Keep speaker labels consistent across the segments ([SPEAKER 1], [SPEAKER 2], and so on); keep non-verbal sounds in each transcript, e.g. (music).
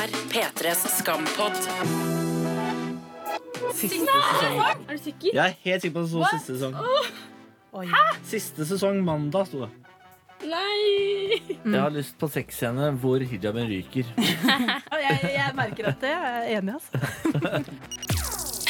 [SPEAKER 1] P3s skampott.
[SPEAKER 2] Siste sesong.
[SPEAKER 3] Er du sikker?
[SPEAKER 4] Jeg er helt sikker på at det sto siste sesong.
[SPEAKER 2] Oi.
[SPEAKER 4] Siste sesong mandag sto det.
[SPEAKER 3] Nei!
[SPEAKER 4] Jeg har lyst på sexscene hvor hijaben ryker.
[SPEAKER 2] Ja, Jeg, jeg merker at jeg er enig, altså.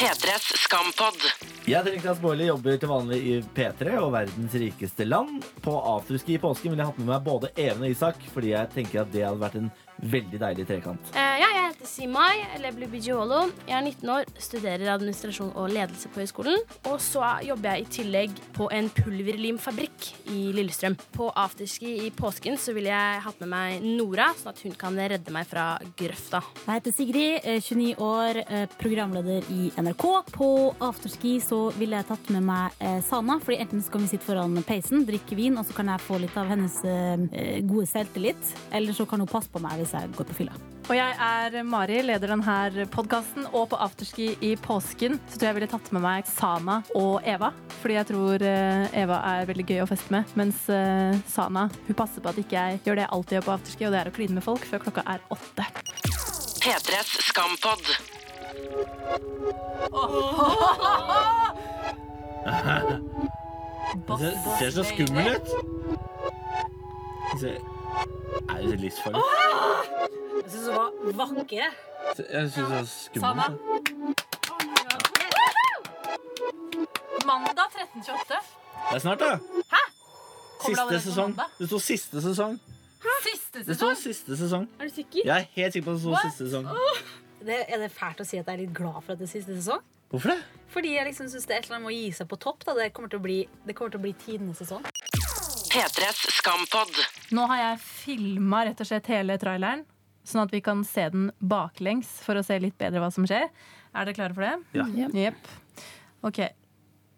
[SPEAKER 1] P3s skampott.
[SPEAKER 4] Jeg heter Niklas Baarli, jobber til vanlig i P3 og verdens rikeste land. På afterski i påsken ville jeg hatt med meg både Even og Isak, fordi jeg tenker at det hadde vært en veldig deilig trekant.
[SPEAKER 5] Eh, ja, jeg heter Simai, eller Blubigiolo. Jeg er 19 år, studerer administrasjon og ledelse på høyskolen. Og så er- jobber jeg i tillegg på en pulverlimfabrikk i Lillestrøm. På afterski i påsken så ville jeg hatt med meg Nora, sånn at hun kan redde meg fra grøfta.
[SPEAKER 6] Jeg heter Sigrid, eh, 29 år, eh, programleder i NRK. På afterski så ville jeg tatt med meg eh, Sana, fordi enten så kan vi sitte foran peisen, drikke vin, og så kan jeg få litt av hennes eh, gode selvtillit. Eller så kan hun passe på meg hvis jeg går på fylla.
[SPEAKER 2] Og jeg er Mari, leder denne podkasten. Og på afterski i påsken så tror jeg jeg ville tatt med meg Sana og Eva. Fordi jeg tror eh, Eva er veldig gøy å feste med. Mens eh, Sana hun passer på at ikke jeg gjør det jeg alltid gjør på afterski, og det er å kline med folk før klokka er åtte.
[SPEAKER 1] P3s skampott.
[SPEAKER 4] Det ser så skummel ut. Det ser- Er det livsfarlig?
[SPEAKER 7] Jeg syns det var vakre.
[SPEAKER 4] Jeg syns det er
[SPEAKER 2] Sana.
[SPEAKER 4] skummelt.
[SPEAKER 2] Mandag 13.28.
[SPEAKER 4] Det er snart, da.
[SPEAKER 2] Kommer det
[SPEAKER 4] Siste
[SPEAKER 2] allerede på
[SPEAKER 4] sesong.
[SPEAKER 2] mandag?
[SPEAKER 4] Det sto siste sesong.
[SPEAKER 2] Siste
[SPEAKER 4] Det sto siste sesong.
[SPEAKER 3] Er du sikker?
[SPEAKER 4] Jeg er helt sikker på at det sto siste sesong.
[SPEAKER 7] Det, er det fælt å si at jeg er litt glad for at det er siste sesong?
[SPEAKER 4] Hvorfor det?
[SPEAKER 7] Fordi jeg liksom syns det er et eller annet med å gi seg på topp. Da. Det kommer til å bli, det kommer til å bli tidenes sesong.
[SPEAKER 1] P3s skampott.
[SPEAKER 2] Nå har jeg filma rett og slett hele traileren, sånn at vi kan se den baklengs for å se litt bedre hva som skjer. Er dere klare for det?
[SPEAKER 4] Ja.
[SPEAKER 2] Jepp. Ok.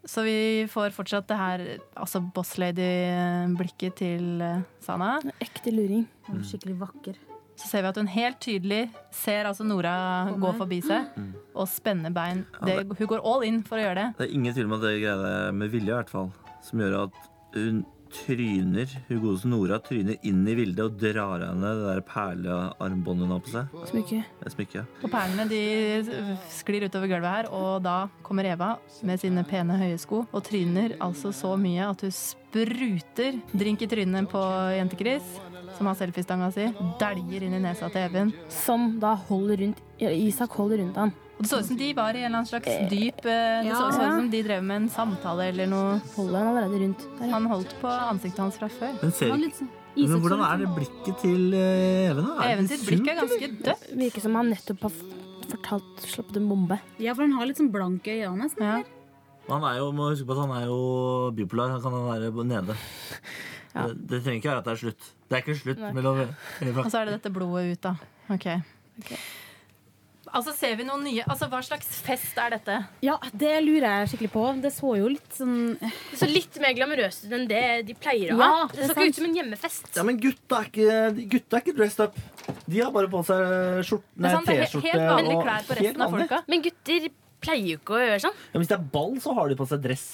[SPEAKER 2] Så vi får fortsatt det her altså bosslady-blikket til eh, Sana.
[SPEAKER 3] Ekte luring.
[SPEAKER 6] Skikkelig vakker.
[SPEAKER 2] Så ser vi at hun helt tydelig ser altså Nora gå forbi seg og spenne bein. Det, hun går all in for å gjøre det.
[SPEAKER 4] Det er ingen tvil om at det greiene er med vilje, i hvert fall. Som gjør at hun tryner Hun godeste Nora tryner inn i bildet og drar av henne det der perlearmbåndet hun har på seg.
[SPEAKER 3] Smykke.
[SPEAKER 4] Det smykket.
[SPEAKER 2] Og perlene de sklir utover gulvet her, og da kommer Eva med sine pene høye sko og tryner altså så mye at hun spruter drink i trynet på jentekris, som har selfiestanga si, dæljer inn i nesa til Even.
[SPEAKER 3] Som da holder rundt Isak holder rundt han.
[SPEAKER 2] Og det så ut som de var i en eller annen slags dyp eh, Det så så ut som de drev med en samtale eller noe.
[SPEAKER 3] Holder han allerede rundt. Der, ja.
[SPEAKER 2] Han holdt på ansiktet hans fra før.
[SPEAKER 4] Men, ser,
[SPEAKER 6] Han
[SPEAKER 4] ikke-
[SPEAKER 6] litt sånn-
[SPEAKER 4] men
[SPEAKER 6] Isak
[SPEAKER 4] hvordan
[SPEAKER 6] så
[SPEAKER 4] er det
[SPEAKER 6] litt
[SPEAKER 2] liksom-
[SPEAKER 6] sånn-
[SPEAKER 4] blikket til eh, Even? da? Er
[SPEAKER 2] Even
[SPEAKER 4] det
[SPEAKER 2] sitt blikk
[SPEAKER 4] sunt,
[SPEAKER 2] er ganske dødt.
[SPEAKER 3] Virker som han nettopp har f- fortalt sluppet en bombe.
[SPEAKER 7] Ja, for han har litt sånn blanke øyne. nesten.
[SPEAKER 2] Ja.
[SPEAKER 4] eller? Han er jo, må huske på at han er jo bipolar. Han kan være nede. Det, det trenger ikke være at det er slutt. Det er ikke slutt mellom Eva.
[SPEAKER 2] Og så er det dette blodet ut, da. Ok. Altså, ser vi noen nye Altså, hva slags fest er dette?
[SPEAKER 6] Ja, det lurer jeg skikkelig på. Det så jo litt sånn
[SPEAKER 5] Det så litt mer glamorøst ut enn det de pleier å ha.
[SPEAKER 6] Ja,
[SPEAKER 5] det
[SPEAKER 6] det er
[SPEAKER 5] så ikke ut
[SPEAKER 6] sant.
[SPEAKER 5] som en hjemmefest.
[SPEAKER 4] Ja, men gutta er ikke, gutta er ikke dressed up. De har bare på seg skjort, nei,
[SPEAKER 2] sant, det er he-
[SPEAKER 4] T-skjorte
[SPEAKER 2] helt vanlige
[SPEAKER 4] og
[SPEAKER 2] klær på resten av
[SPEAKER 4] vanlig.
[SPEAKER 2] folka.
[SPEAKER 5] Men gutter pleier jo ikke å gjøre sånn.
[SPEAKER 4] Ja, men hvis det er ball, så har de på seg dress.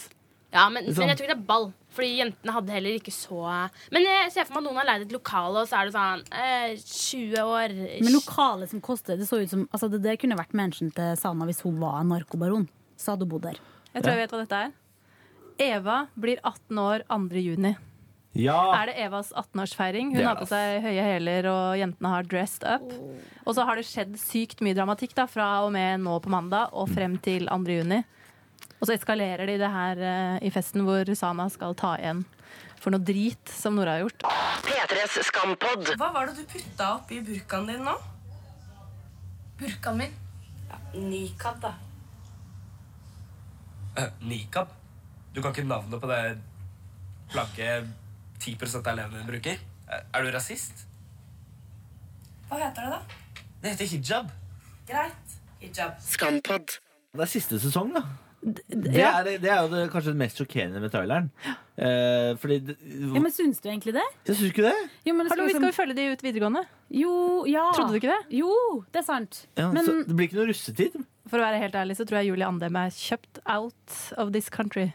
[SPEAKER 5] Ja, men,
[SPEAKER 4] Liksom.
[SPEAKER 5] men jeg tror ikke det er ball. Fordi jentene hadde heller ikke så Men jeg ser for meg at noen har leid et lokale, og så er det sånn eh, 20 år
[SPEAKER 6] Men lokalet som koster, det så ut som altså, Det der kunne vært mennesken til Sana hvis hun var en narkobaron. Så hadde hun bodd der.
[SPEAKER 2] Jeg tror jeg vet hva dette er. Eva blir 18 år 2. juni.
[SPEAKER 4] Ja,
[SPEAKER 2] Er det Evas
[SPEAKER 4] Ah. Det
[SPEAKER 2] 18-årsfeiring? Hun
[SPEAKER 4] er
[SPEAKER 2] har på
[SPEAKER 4] det,
[SPEAKER 2] seg høye hæler, og jentene har dressed up. Og så har det skjedd sykt mye dramatikk da, fra og med nå på mandag og frem til 2. juni. Og så eskalerer de det her eh, i festen hvor Sana skal ta igjen for noe drit som Nora har gjort.
[SPEAKER 1] P3s skampott.
[SPEAKER 8] Hva var det du putta oppi burkaen din nå? Burkaen min? Ja, Nikab, da.
[SPEAKER 9] Eh, Nikab? Du kan ikke navnet på det blanke 10 av elevene bruker? Er er du rasist?
[SPEAKER 8] Hva heter det, da?
[SPEAKER 9] Det heter hijab.
[SPEAKER 8] Greit. Hijab.
[SPEAKER 1] Skampott.
[SPEAKER 4] Det er siste sesong, da. Det er, det er jo det, kanskje det mest sjokkerende med traileren. Eh, fordi det,
[SPEAKER 6] Ja, men syns du egentlig det?
[SPEAKER 4] Jeg syns ikke det.
[SPEAKER 6] Jo, men det
[SPEAKER 2] Hallo,
[SPEAKER 6] så
[SPEAKER 2] vi
[SPEAKER 6] ut som-
[SPEAKER 2] skal jo følge de ut videregående.
[SPEAKER 6] Jo, ja.
[SPEAKER 2] Trodde du ikke det?
[SPEAKER 6] Jo, det er sant.
[SPEAKER 4] Ja,
[SPEAKER 6] men
[SPEAKER 4] så, det blir ikke noe russetid.
[SPEAKER 2] For å være helt ærlig så tror jeg Julie Andem er kjøpt out of this country.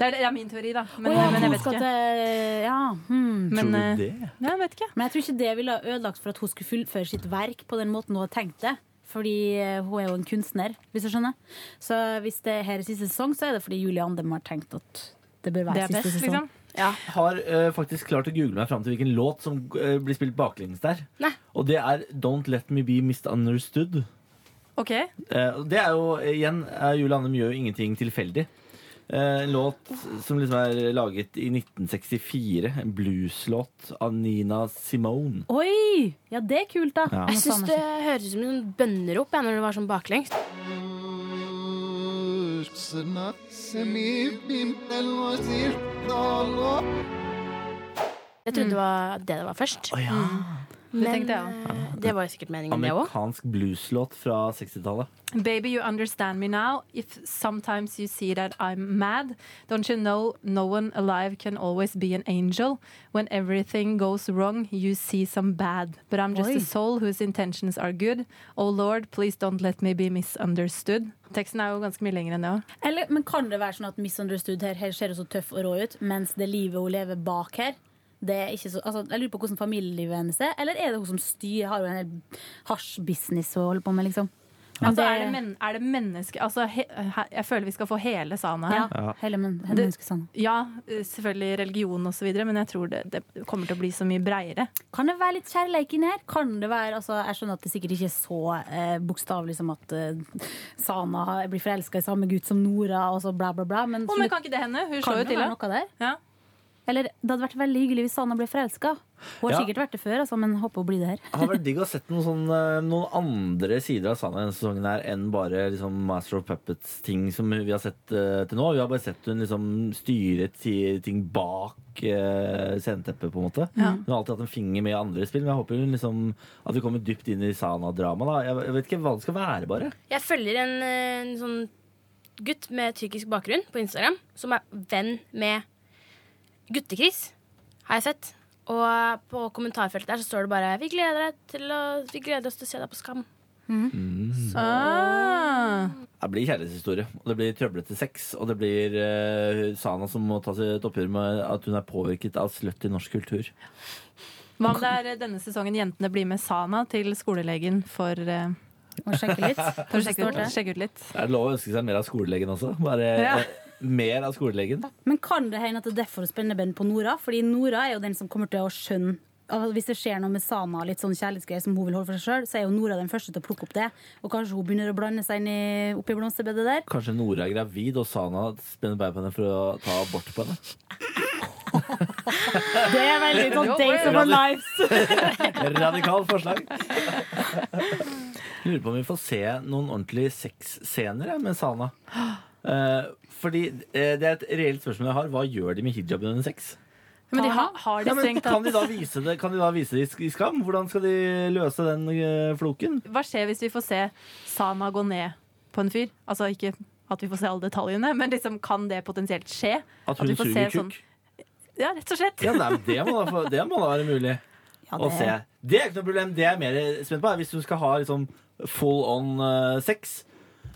[SPEAKER 2] Det er, det er min teori, da. Men,
[SPEAKER 6] Å ja,
[SPEAKER 2] men jeg vet
[SPEAKER 6] skal
[SPEAKER 2] ikke.
[SPEAKER 6] til- Ja, hmm.
[SPEAKER 2] Men,
[SPEAKER 4] Tror
[SPEAKER 2] eh,
[SPEAKER 4] du det?
[SPEAKER 2] nei, jeg vet ikke.
[SPEAKER 6] Men jeg tror ikke det ville ha ødelagt for at hun skulle fullføre sitt verk på den måten hun hadde tenkt det. Fordi eh, hun er jo en kunstner, hvis du skjønner. Så hvis det her er siste sesong, så er det fordi Julie Andem har tenkt at det
[SPEAKER 2] Det
[SPEAKER 6] bør være
[SPEAKER 2] er
[SPEAKER 6] siste
[SPEAKER 2] best,
[SPEAKER 6] sesong.
[SPEAKER 2] liksom.
[SPEAKER 4] har eh, faktisk klart å google meg fram til hvilken låt som eh, blir spilt baklengs der.
[SPEAKER 5] Nei.
[SPEAKER 4] Og det er Don't Let Me Be Misunderstood.
[SPEAKER 2] OK.
[SPEAKER 4] Eh, og det er jo eh, igjen er Julie Andem gjør jo ingenting tilfeldig. Eh, en låt som liksom er laget i 1964. En blueslåt av Nina Simone.
[SPEAKER 6] Oi! Ja, det er kult, da.
[SPEAKER 4] Ja.
[SPEAKER 6] Nå
[SPEAKER 5] Jeg syns
[SPEAKER 6] savner
[SPEAKER 5] det høres ut som en bønnerop jeg, når det var sånn baklengs. Jeg trodde det var det det var først.
[SPEAKER 4] Å ja.
[SPEAKER 5] Men
[SPEAKER 2] tenkte jeg
[SPEAKER 5] eh, det var jo sikkert meningen, det òg.
[SPEAKER 4] Amerikansk blueslåt fra 60-tallet.
[SPEAKER 2] Baby, you understand me now. If sometimes you see that I'm mad, don't you know no one alive can always be an angel? When everything goes wrong, you see some bad. But I'm just
[SPEAKER 6] Oi.
[SPEAKER 2] a soul whose intentions are good. Oh Lord, please don't let me be misunderstood. Teksten er jo ganske mye lenger enn det òg.
[SPEAKER 6] Eller, men kan det være sånn at Misunderstood her, her ser hun så tøff og rå ut, mens det livet hun lever bak her det er ikke så, altså, Jeg lurer på hvordan familielivet hennes er. Eller er det hun som styrer? Har hun en hel hasjbusiness å holde på med, liksom? Men
[SPEAKER 2] Altså, er det, men, er det menneske... Altså, he, he, jeg føler vi skal få hele Sana her.
[SPEAKER 6] ja, hele men, hele
[SPEAKER 2] Det-
[SPEAKER 6] menneskesand.
[SPEAKER 2] Ja, eh, selvfølgelig religion og så videre, men jeg tror det, det kommer til å bli så mye breiere.
[SPEAKER 6] Kan det være litt kjærleik inni her? Kan det være, altså, jeg skjønner at det sikkert ikke er så eh, bokstavelig som at eh, Sana blir forelska i samme gutt som Nora, og så bla, bla, bla. Men,
[SPEAKER 2] Å, men kan ikke det hende? Hun
[SPEAKER 6] kan
[SPEAKER 2] slår
[SPEAKER 6] det
[SPEAKER 2] jo til, da.
[SPEAKER 6] være noe der?
[SPEAKER 2] Ja.
[SPEAKER 6] Eller det hadde vært veldig hyggelig hvis Sana ble forelska. Hun har
[SPEAKER 4] Ja.
[SPEAKER 6] sikkert vært det før, altså, men håper hun blir det her.
[SPEAKER 4] Det hadde vært digg å sett noen, sånn, eh, noen andre sider av Sana denne sesongen her enn bare liksom, Master of Puppets-ting som vi har sett eh, til nå. Vi har bare sett hun liksom, styre ti- ting bak eh, sceneteppet, på en måte. Hun har alltid hatt en finger med i andre spill, men jeg håper hun liksom, at vi kommer dypt inn i Sana-dramaet. Jeg, jeg vet ikke hva det skal være, bare.
[SPEAKER 5] Jeg følger en, eh, en sånn gutt med tyrkisk bakgrunn på Instagram som er venn med Guttekris, har jeg sett. Og på kommentarfeltet der så står det bare Vi gleder, deg til å, vi gleder oss til å se deg på Skam.
[SPEAKER 2] Ah.
[SPEAKER 4] Det blir kjærlighetshistorie, og det blir trøblete sex, og det blir eh, Sana som må ta seg et oppgjør med at hun er påvirket av sløtt i norsk kultur.
[SPEAKER 2] Hva om det er eh, denne sesongen jentene blir med Sana til skolelegen for, eh,
[SPEAKER 6] Og sjekke (laughs) litt.
[SPEAKER 2] for å sjekke ut, sjekke ut litt?
[SPEAKER 4] Er det lov å ønske seg mer av skolelegen også? Bare
[SPEAKER 2] Ja.
[SPEAKER 4] eh, mer av skolelegen?
[SPEAKER 6] Men kan det hende at det er derfor hun spenner ben på Nora? Fordi Nora er jo den som kommer til å skjønne altså, hvis det skjer noe med Sana, litt sånn kjærlighetsgreier som hun vil holde for seg sjøl, så er jo Nora den første til å plukke opp det. Og kanskje hun begynner å blande seg inn i, oppi blomsterbedet der.
[SPEAKER 4] Kanskje Nora er gravid, og Sana spenner bein på henne for å ta abort på henne?
[SPEAKER 6] Det er veldig sånn days
[SPEAKER 4] of our
[SPEAKER 6] lives.
[SPEAKER 4] Radikalt forslag. Lurer på om vi får se noen ordentlige sexscener jeg, med Sana. Eh, fordi eh, det er et reelt spørsmål jeg har. Hva gjør de med hijaben under sex?
[SPEAKER 2] Men de har, har de
[SPEAKER 4] Ja, men
[SPEAKER 2] strengt
[SPEAKER 4] kan de
[SPEAKER 2] tatt
[SPEAKER 4] da vise det, kan de da vise det i sk- i Skam? Hvordan skal de løse den eh, floken?
[SPEAKER 2] Hva skjer hvis vi får se Sana gå ned på en fyr? Altså ikke at vi får se alle detaljene, men liksom, kan det potensielt skje?
[SPEAKER 4] At hun
[SPEAKER 2] vi får
[SPEAKER 4] suger
[SPEAKER 2] se
[SPEAKER 4] kukk?
[SPEAKER 2] sånn- Ja, rett og slett.
[SPEAKER 4] Ja, nei, men det, må da, få- det må da være mulig å se. Det er ikke noe problem. Det jeg er mer spent på, er hvis hun skal ha liksom, full on eh, sex.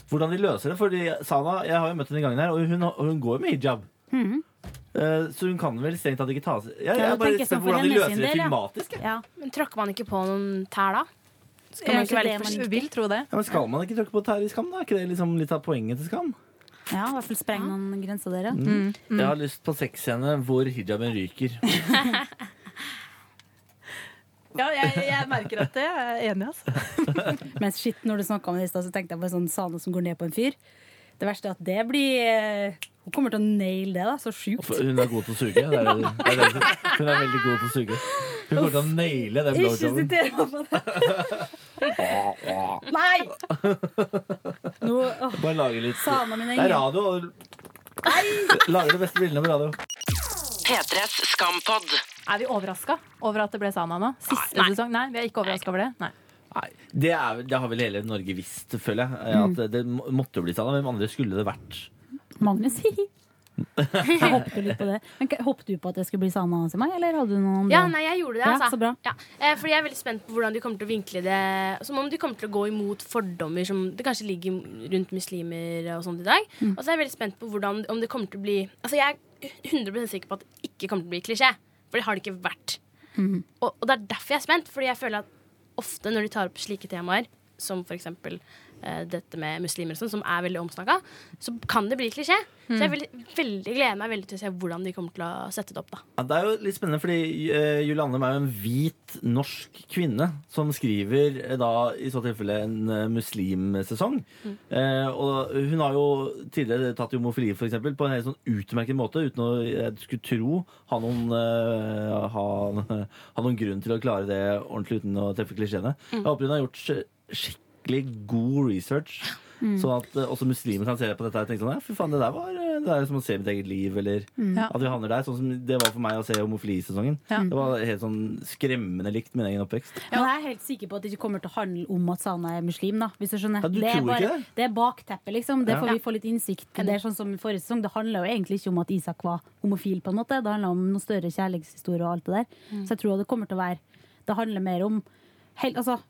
[SPEAKER 4] Hvordan de løser det. Fordi Sana, jeg har jo møtt henne i gangen her, og hun, hun går jo med hijab.
[SPEAKER 6] Mhm.
[SPEAKER 4] Eh, så hun kan vel strengt tatt ikke ta av seg Jeg, jeg
[SPEAKER 6] Ja,
[SPEAKER 4] er bare
[SPEAKER 6] tenker jeg
[SPEAKER 4] spent
[SPEAKER 6] sånn
[SPEAKER 4] på
[SPEAKER 6] for
[SPEAKER 4] hvordan de
[SPEAKER 6] hennes
[SPEAKER 4] løser det
[SPEAKER 6] del, ja.
[SPEAKER 4] filmatisk. jeg.
[SPEAKER 6] Ja.
[SPEAKER 5] Men tråkker man ikke på noen tær da? Skal
[SPEAKER 6] Er
[SPEAKER 5] man
[SPEAKER 6] ikke
[SPEAKER 5] ikke være litt
[SPEAKER 6] det man-
[SPEAKER 5] forsiktig?
[SPEAKER 2] Jeg vil tro det.
[SPEAKER 4] Ja, men skal man ikke tråkke på tær i Skam, da? Er ikke det liksom litt av poenget til Skam?
[SPEAKER 6] ja, i hvert fall spreng noen grenser der, ja. Mm.
[SPEAKER 4] Jeg har lyst på sexscene hvor hijaben ryker.
[SPEAKER 2] Ja, jeg, jeg merker at det jeg er enig, altså.
[SPEAKER 6] Mm. Men shit, når du snakka om det i stad, så tenkte jeg på en sånn Sana som går ned på en fyr. Det verste er at det blir eh, Hun kommer til å naile det, da. Så sjukt.
[SPEAKER 4] For Hun er god til å suge. Det er, det er, det som- hun er veldig god til å suge. Hun kommer til å naile den
[SPEAKER 6] Ikke
[SPEAKER 4] blowjoben.
[SPEAKER 6] sitere meg på det. Nei! Nå, åh,
[SPEAKER 4] Bare lage litt
[SPEAKER 6] Sana min
[SPEAKER 4] Det er
[SPEAKER 6] engel.
[SPEAKER 4] radio. og- (laughs) Lager de beste bildene på radio.
[SPEAKER 1] P3s skampod.
[SPEAKER 2] (laughs) Er vi overraska over at det ble Sana nå? Siste sesong? Nei, vi er ikke overraska over det. Nei.
[SPEAKER 4] Nei, det, er, vel- det har vel hele Norge visst, føler jeg. At det må- måtte jo bli Sana. Hvem andre skulle det vært?
[SPEAKER 6] Magnus, (laughs) hihi. Jeg håpet litt på det. Men k- Håpet du på at det skulle bli Sana og Semai, eller hadde du noen andre?
[SPEAKER 5] Ja, nei, jeg gjorde det,
[SPEAKER 6] Ja,
[SPEAKER 5] altså.
[SPEAKER 6] så bra.
[SPEAKER 5] Ja. Eh, fordi jeg er veldig spent på hvordan de kommer til å vinkle det. Som om de kommer til å gå imot fordommer som det kanskje ligger rundt muslimer og sånt i dag.
[SPEAKER 6] Mm.
[SPEAKER 5] Og så er jeg veldig spent på hvordan, om det kommer til å bli Altså, jeg er 100 sikker på at det ikke kommer til å bli klisjé. For det har det ikke vært.
[SPEAKER 6] Mm-hmm.
[SPEAKER 5] Og, og det er derfor jeg er spent, fordi jeg føler at ofte når de tar opp slike temaer, som f.eks. Eh, dette med muslimer og sånn, som er veldig omsnakka, så kan det bli klisjé.
[SPEAKER 6] Mm.
[SPEAKER 5] Så jeg veldig, veldig, gleder meg veldig til å se hvordan de kommer til å sette det opp, da.
[SPEAKER 4] Ja, det er jo litt spennende, fordi uh, Julie Andem er jo en hvit norsk kvinne som skriver eh, da i så tilfelle en eh, muslimsesong. Eh, og hun har jo tidligere tatt i homofili for eksempel, på en helt sånn utmerket måte, uten å jeg skulle tro ha noen, eh, ha, ha noen grunn til å klare det ordentlig uten å treffe klisjeene. Jeg håper hun har gjort sk- skikkelig god research. Sånn at eh, også muslimer kan se på dette og tenke sånn ja, fy faen, det der var eh, det der er som å se mitt eget liv, eller
[SPEAKER 2] Ja.
[SPEAKER 4] at vi havner der. Sånn som det var for meg å se homofilisesongen.
[SPEAKER 2] Ja.
[SPEAKER 4] Det var helt sånn skremmende likt min egen oppvekst.
[SPEAKER 6] Men jeg er helt sikker på at det ikke kommer til å handle om at Sana er muslim. da Hvis du skjønner
[SPEAKER 4] Ja, du
[SPEAKER 6] det, er
[SPEAKER 4] tror
[SPEAKER 6] bare,
[SPEAKER 4] ikke det?
[SPEAKER 6] det er bakteppet, liksom. Det
[SPEAKER 4] Ja.
[SPEAKER 6] får vi få litt innsikt i. Det er sånn som i forrige sesong. Det handler jo egentlig ikke om at Isak var homofil, på en måte. Det handler om noen større kjærlighetshistorier og alt det der. Så jeg tror det kommer til å være Det handler mer om hel, Altså,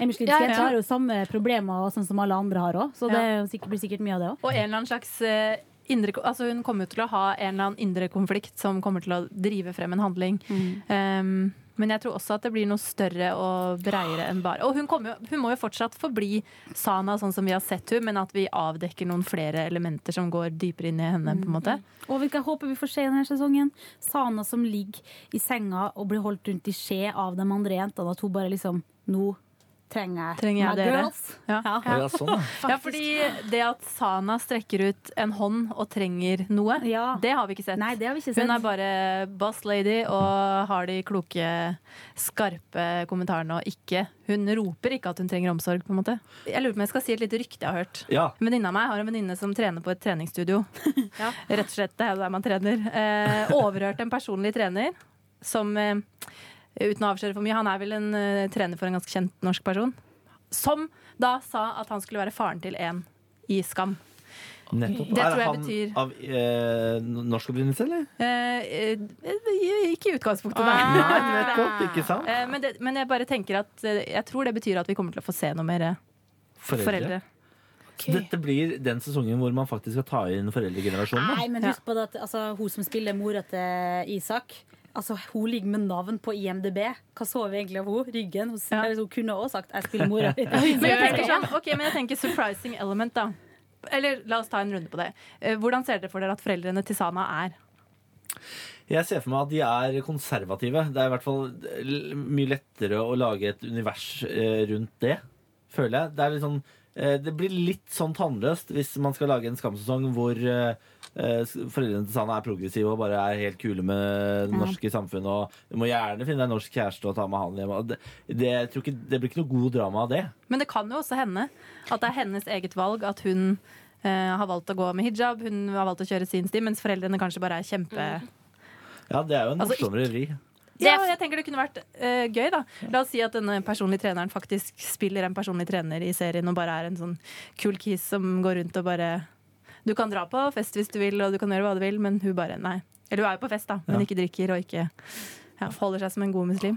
[SPEAKER 6] en muslimsk
[SPEAKER 5] Ja, ja.
[SPEAKER 6] jente har jo samme problemer og sånn som alle andre har òg, så det er jo sikkert, blir sikkert mye av det òg.
[SPEAKER 2] Og en eller annen slags eh, indre, altså Hun kommer jo til å ha en eller annen indre konflikt som kommer til å drive frem en handling.
[SPEAKER 6] Mm.
[SPEAKER 2] Um, men jeg tror også at det blir noe større og breiere enn bare Og hun, kommer jo, hun må jo fortsatt forbli Sana, sånn som vi har sett hun, men at vi avdekker noen flere elementer som går dypere inn i henne. på
[SPEAKER 6] Mm.
[SPEAKER 2] en måte.
[SPEAKER 6] Og vi kan håpe vi får se denne sesongen. Sana som ligger i senga og blir holdt rundt i skje av de andre jentene. At hun bare liksom Nå trenger jeg
[SPEAKER 2] Trenger jeg
[SPEAKER 6] my
[SPEAKER 2] dere?»
[SPEAKER 6] girls.
[SPEAKER 2] Ja.
[SPEAKER 4] Ja. sånn, ja.
[SPEAKER 2] Ja, fordi det at Sana strekker ut en hånd og trenger noe,
[SPEAKER 6] Ja.
[SPEAKER 2] det har vi ikke sett.
[SPEAKER 6] Nei, det har vi ikke sett.
[SPEAKER 2] Hun er bare boss lady og har de kloke, skarpe kommentarene og ikke Hun roper ikke at hun trenger omsorg, på en måte. Jeg lurer på om jeg skal si et lite rykte jeg har hørt.
[SPEAKER 4] (laughs) ja.
[SPEAKER 2] En venninne av meg har en venninne som trener på et treningsstudio. Rett og slett, det er jo der man trener. Eh, overhørte en personlig trener som, eh, uten å avsløre for mye, han er vel en eh, trener for en ganske kjent norsk person, som da sa at han skulle være faren til en i Skam.
[SPEAKER 4] Nettopp.
[SPEAKER 2] Det tror jeg
[SPEAKER 4] er han
[SPEAKER 2] betyr-
[SPEAKER 4] av eh, norsk opprinnelse, eller?
[SPEAKER 2] Eh, eh, ikke i utgangspunktet, nei.
[SPEAKER 4] Nei, nettopp. Ikke sant?
[SPEAKER 2] Eh, men, det, men jeg bare tenker at eh, jeg tror det betyr at vi kommer til å få se noe mer eh,
[SPEAKER 4] Foreldre.
[SPEAKER 2] foreldre.
[SPEAKER 4] Dette blir den sesongen hvor man faktisk skal ta inn foreldregenerasjonen.
[SPEAKER 6] Nei, men husk på det at altså, hun som spiller mora til Isak Altså, Hun ligger med navn på IMDb. Hva så vi egentlig av henne? Ryggen? Hun,
[SPEAKER 2] Ja.
[SPEAKER 6] eller, hun kunne også sagt 'jeg spiller
[SPEAKER 2] (laughs)
[SPEAKER 6] mora'.
[SPEAKER 2] Men jeg tenker sånn, ok, men jeg tenker surprising element, da. Eller la oss ta en runde på det. Eh, Hvordan ser dere for dere at foreldrene til Sana er?
[SPEAKER 4] Jeg ser for meg at de er konservative. Det er i hvert fall l- mye lettere å lage et univers eh, rundt det, føler jeg. Det, er litt sånn, eh, det blir litt sånn tannløst hvis man skal lage en skamsesong hvor eh, eh, s- foreldrene til Sanna er progressive og bare er helt kule med det norske samfunnet. Og du må gjerne finne deg en norsk kjæreste og ta med han hjem. Og Det, det, jeg tror ikke, det blir ikke noe god drama av det.
[SPEAKER 2] Men det kan jo også hende at det er hennes eget valg at hun eh, har valgt å gå med hijab, hun har valgt å kjøre sin sti, mens foreldrene kanskje bare er kjempe...
[SPEAKER 4] Ja, det er jo en
[SPEAKER 2] Altså,
[SPEAKER 4] morsommere vri.
[SPEAKER 2] Ja, jeg tenker det kunne vært eh, gøy, da. La oss si at denne personlige treneren faktisk spiller en personlig trener i serien og bare er en sånn cool kiss som går rundt og bare Du kan dra på fest hvis du vil, og du kan gjøre hva du vil, men hun bare nei. Eller hun er jo på fest, da, men ikke drikker og ikke ja, holder seg som en god muslim.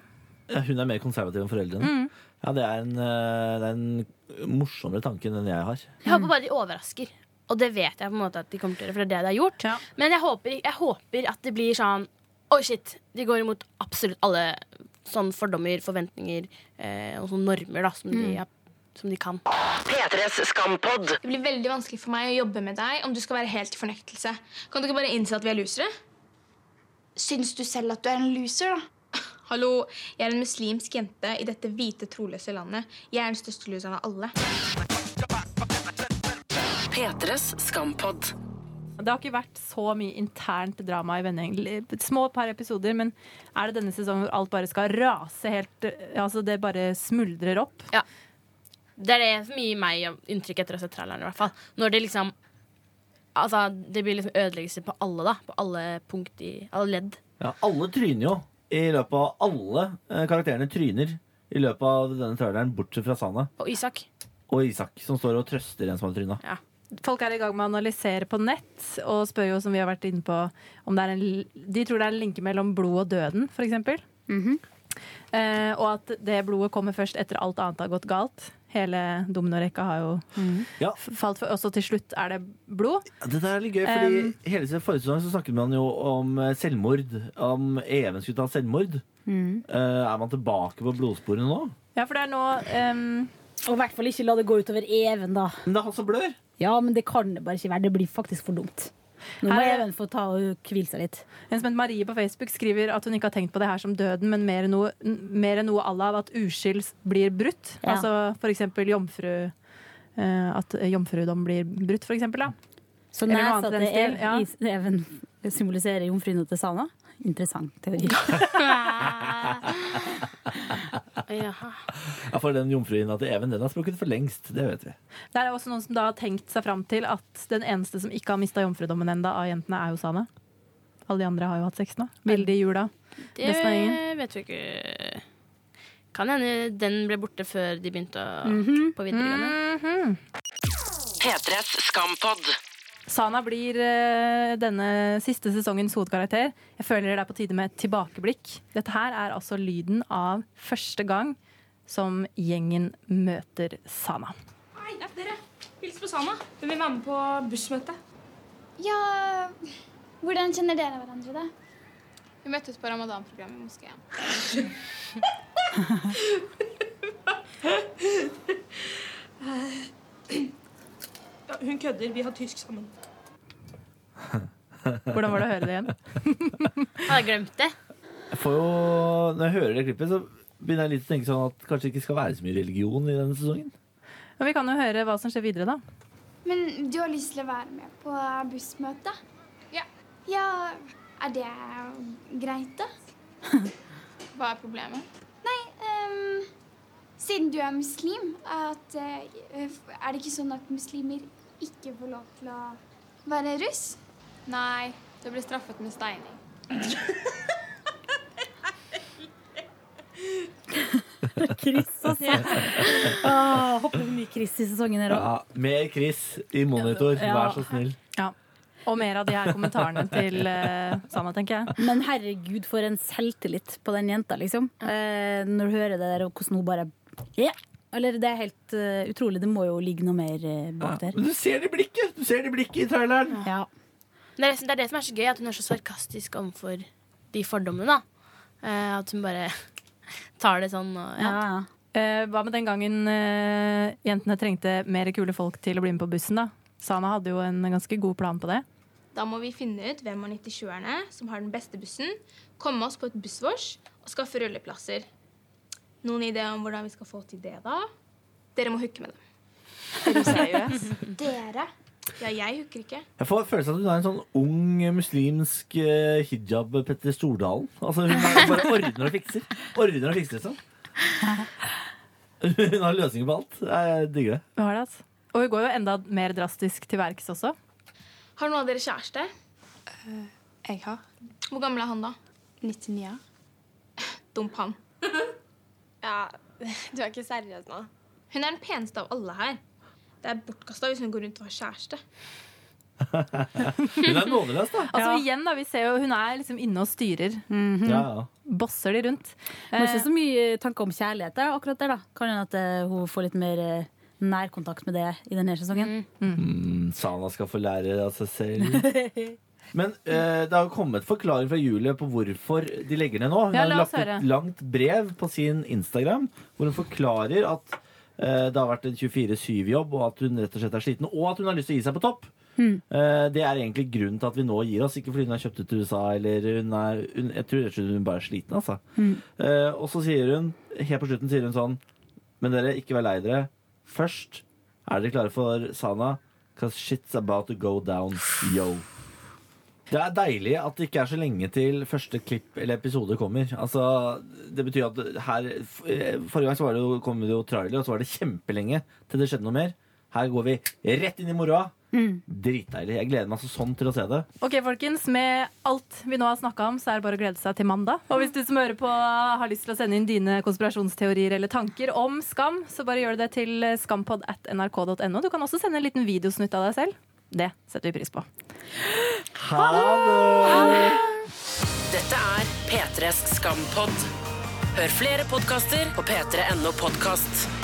[SPEAKER 4] Ja, hun er mer konservativ enn foreldrene. Ja, det er en, eh, det er en morsommere tanke enn den jeg har.
[SPEAKER 5] Jeg
[SPEAKER 2] Mm.
[SPEAKER 5] håper bare de overrasker. Og det vet jeg på en måte at de kommer til å gjøre, for det er det de har gjort.
[SPEAKER 2] Ja.
[SPEAKER 5] Men jeg håper, jeg håper at det blir sånn Oi, shit. De går imot absolutt alle sånne fordommer, forventninger eh, og sånne normer da, som,
[SPEAKER 2] Mm.
[SPEAKER 5] de, har- som de kan.
[SPEAKER 1] P3s skampodd.
[SPEAKER 10] Det blir veldig vanskelig for meg å jobbe med deg om du skal være helt i fornektelse. Kan du ikke bare innse at vi er losere? Syns du selv at du er en loser, da? (laughs) Hallo, jeg er en muslimsk jente i dette hvite, troløse landet. Jeg er den største loseren av alle.
[SPEAKER 1] P3s skampodd.
[SPEAKER 2] Det har ikke vært så mye internt drama i vendingen. Små par episoder, men er det denne sesongen hvor alt bare skal rase helt eh, Altså, det bare smuldrer opp?
[SPEAKER 5] Det er det som gir meg inntrykk etter å ha sett traileren. i hvert fall. Når det liksom Altså, det blir liksom ødeleggelse på alle, da. På alle punkt i alle ledd.
[SPEAKER 4] Ja, alle tryner jo i løpet av alle eh, karakterene tryner i løpet av denne traileren, bortsett fra Sana
[SPEAKER 5] Og Isak.
[SPEAKER 4] og Isak, som står og trøster en som har tryna.
[SPEAKER 5] Ja.
[SPEAKER 2] Folk er i gang med å analysere på nett og spør jo, som vi har vært inne på, om det er en, de tror det er en linke mellom blod og døden, f.eks. Eh, og at det blodet kommer først etter alt annet har gått galt. Hele dominorekka har jo
[SPEAKER 4] Ja.
[SPEAKER 2] f- falt for, og så til slutt er det blod.
[SPEAKER 4] Dette er litt gøy, fordi
[SPEAKER 2] Um,
[SPEAKER 4] hele siden forrige sesong så snakket man jo om eh, selvmord. Om Even skulle ta selvmord. Eh, er man tilbake på blodsporene nå?
[SPEAKER 2] Ja, for det er nå
[SPEAKER 6] Og i hvert fall ikke la det gå utover Even, da.
[SPEAKER 4] Men det er han som blør.
[SPEAKER 6] Ja, men det kan det bare ikke være. Det blir faktisk for dumt. Nå må
[SPEAKER 2] Her er-
[SPEAKER 6] Even få ta og hvile seg litt.
[SPEAKER 2] En som heter Marie på Facebook skriver at hun ikke har tenkt på det her som døden, men mer noe, n- mer noe à la at uskyld blir brutt.
[SPEAKER 6] Ja.
[SPEAKER 2] Altså for eksempel jomfru. eh, at jomfrudom blir brutt, for eksempel. Da.
[SPEAKER 6] Så
[SPEAKER 2] Eller
[SPEAKER 6] nei,
[SPEAKER 2] noe annet
[SPEAKER 6] så at
[SPEAKER 2] i den
[SPEAKER 6] Even,
[SPEAKER 2] stil, ja.
[SPEAKER 6] Even symboliserer jomfruen til Sana? Interessant teori.
[SPEAKER 5] Jaha.
[SPEAKER 4] Ja, for den jomfruhinna til Even den har sprukket for lengst. Det vet vi.
[SPEAKER 2] Det er også noen som da har tenkt seg fram til at den eneste som ikke har mista jomfrudommen enda av jentene, er jo Sana. Alle de andre har jo hatt sex nå. Vilde i jula.
[SPEAKER 5] Det
[SPEAKER 2] Resten av gjengen.
[SPEAKER 5] vet vi ikke. Kan hende den ble borte før de begynte å,
[SPEAKER 2] Mhm.
[SPEAKER 5] på videregående.
[SPEAKER 1] P3s skampod.
[SPEAKER 2] Sana blir eh, denne siste sesongens hovedkarakter. Jeg føler det er på tide med et tilbakeblikk. Dette her er altså lyden av første gang som gjengen møter Sana.
[SPEAKER 10] Hei, det er dere. Hils på Sana. Hun vil være med på bussmøte.
[SPEAKER 11] Ja, hvordan kjenner dere hverandre, da?
[SPEAKER 10] Vi møttes på ramadan-programmet i moskeen. Hun kødder. Vi har tysk sammen.
[SPEAKER 2] Hvordan var det å høre det igjen?
[SPEAKER 5] Har jeg glemt det?
[SPEAKER 4] Jeg får jo, når jeg hører det klippet, så begynner jeg litt å tenke sånn at kanskje det ikke skal være så mye religion i denne sesongen.
[SPEAKER 2] Men vi kan jo høre hva som skjer videre, da.
[SPEAKER 11] Men du har lyst til å være med på bussmøte?
[SPEAKER 10] Ja.
[SPEAKER 11] Ja, er det greit, da?
[SPEAKER 10] (laughs) Hva er problemet?
[SPEAKER 11] Nei, ehm, siden du er muslim, at, eh, er det ikke sånn at muslimer ikke får lov til å være russ?
[SPEAKER 10] Nei, det blir straffet med steining.
[SPEAKER 6] Chris, altså. Åh, håper det blir mye Chris i sesongen her òg.
[SPEAKER 4] Ja, mer Chris i monitor,
[SPEAKER 6] Ja.
[SPEAKER 4] vær så snill.
[SPEAKER 2] Ja. Og mer av de her kommentarene til eh, Sana, tenker jeg.
[SPEAKER 6] Men herregud, for en selvtillit på den jenta, liksom. Eh, når du hører det der, og hvordan hun bare Ja! Eller det er helt eh, utrolig. Det må jo ligge noe mer eh, bak der.
[SPEAKER 4] Men du ser det i blikket! Du ser det i blikket i traileren.
[SPEAKER 6] Ja.
[SPEAKER 5] Men Det er, det er det som er så gøy, at hun er så sarkastisk overfor de fordommene. da. Eh, at hun bare (laughs) tar det sånn. Og, ja.
[SPEAKER 2] Eh, hva med den gangen eh, jentene trengte mer kule folk til å bli med på bussen, da? Sana hadde jo en ganske god plan på det.
[SPEAKER 10] Da må vi finne ut hvem av 97-erne som har den beste bussen, komme oss på et bussvors og skaffe rulleplasser. Noen ideer om hvordan vi skal få til det, da? Dere må hooke med dem. Er du (laughs) seriøs?
[SPEAKER 11] Dere?
[SPEAKER 10] Ja, jeg hooker ikke.
[SPEAKER 4] Jeg får følelsen av at hun er en sånn ung muslimsk eh, hijab-Petter Stordalen. Altså, hun er bare ordner og fikser. Ordner og fikser
[SPEAKER 6] (laughs)
[SPEAKER 4] sånn. Hun har løsninger på alt. Eh, Jeg digger det.
[SPEAKER 2] Hun har det, altså. Og hun går jo enda mer drastisk til verks også.
[SPEAKER 10] Har noen av dere kjæreste? Eh, jeg har. Hvor gammel er han, da? 99 år. Dump han. ja, du er ikke seriøs nå? Hun er den peneste av alle her. Det er bortkasta hvis hun går rundt og har kjæreste.
[SPEAKER 4] Hun er nådeløs, da.
[SPEAKER 2] Altså igjen da, vi ser jo Hun er liksom inne og styrer.
[SPEAKER 4] Ja, ja.
[SPEAKER 2] Bosser de rundt. Eh,
[SPEAKER 6] Men ikke så mye tanker om kjærlighet der, akkurat der, da. Kan hende at eh, hun får litt mer eh, nærkontakt med det i denne sesongen.
[SPEAKER 4] Mm, Sana skal få lære av seg selv.
[SPEAKER 2] (laughs)
[SPEAKER 4] Men eh, det har jo kommet forklaring fra Julie på hvorfor de legger ned nå. Hun
[SPEAKER 2] Ja,
[SPEAKER 4] har
[SPEAKER 2] la oss
[SPEAKER 4] lagt et
[SPEAKER 2] høre.
[SPEAKER 4] langt brev på sin Instagram hvor hun forklarer at eh, det har vært en 24-7-jobb, og at hun rett og slett er sliten, og at hun har lyst til å gi seg på topp.
[SPEAKER 2] Hmm.
[SPEAKER 4] Eh, det er egentlig grunnen til at vi nå gir oss, ikke fordi hun har kjøpt ut til USA. Eller hun er, hun, jeg tror rett og slett hun bare er sliten, altså.
[SPEAKER 2] Hmm.
[SPEAKER 4] Eh, og så sier hun, helt på slutten sier hun sånn Men dere, ikke vær lei dere. Først er dere klare for Sana. Cause shit's about to go down, yo. Det er deilig at det ikke er så lenge til første klipp eller episode kommer. Altså, det betyr at her f- eh, Forrige gang så var det jo, kom det jo trailer, og så var det kjempelenge til det skjedde noe mer. Her går vi rett inn i moroa.
[SPEAKER 6] Mm.
[SPEAKER 4] Dritdeilig. Jeg gleder meg så sånn til å se det.
[SPEAKER 2] Ok, folkens, Med alt vi nå har snakka om, så er det bare å glede seg til mandag. Og hvis du som hører på eh, har lyst til å sende inn dine konspirasjonsteorier eller tanker om skam, så bare gjør det til eh, skampod at nrk.no. Du kan også sende en liten videosnutt av deg selv. Det setter vi pris på.
[SPEAKER 4] Ha det!
[SPEAKER 1] Dette er P3s Skampod. Hør flere podkaster på p3.no podkast.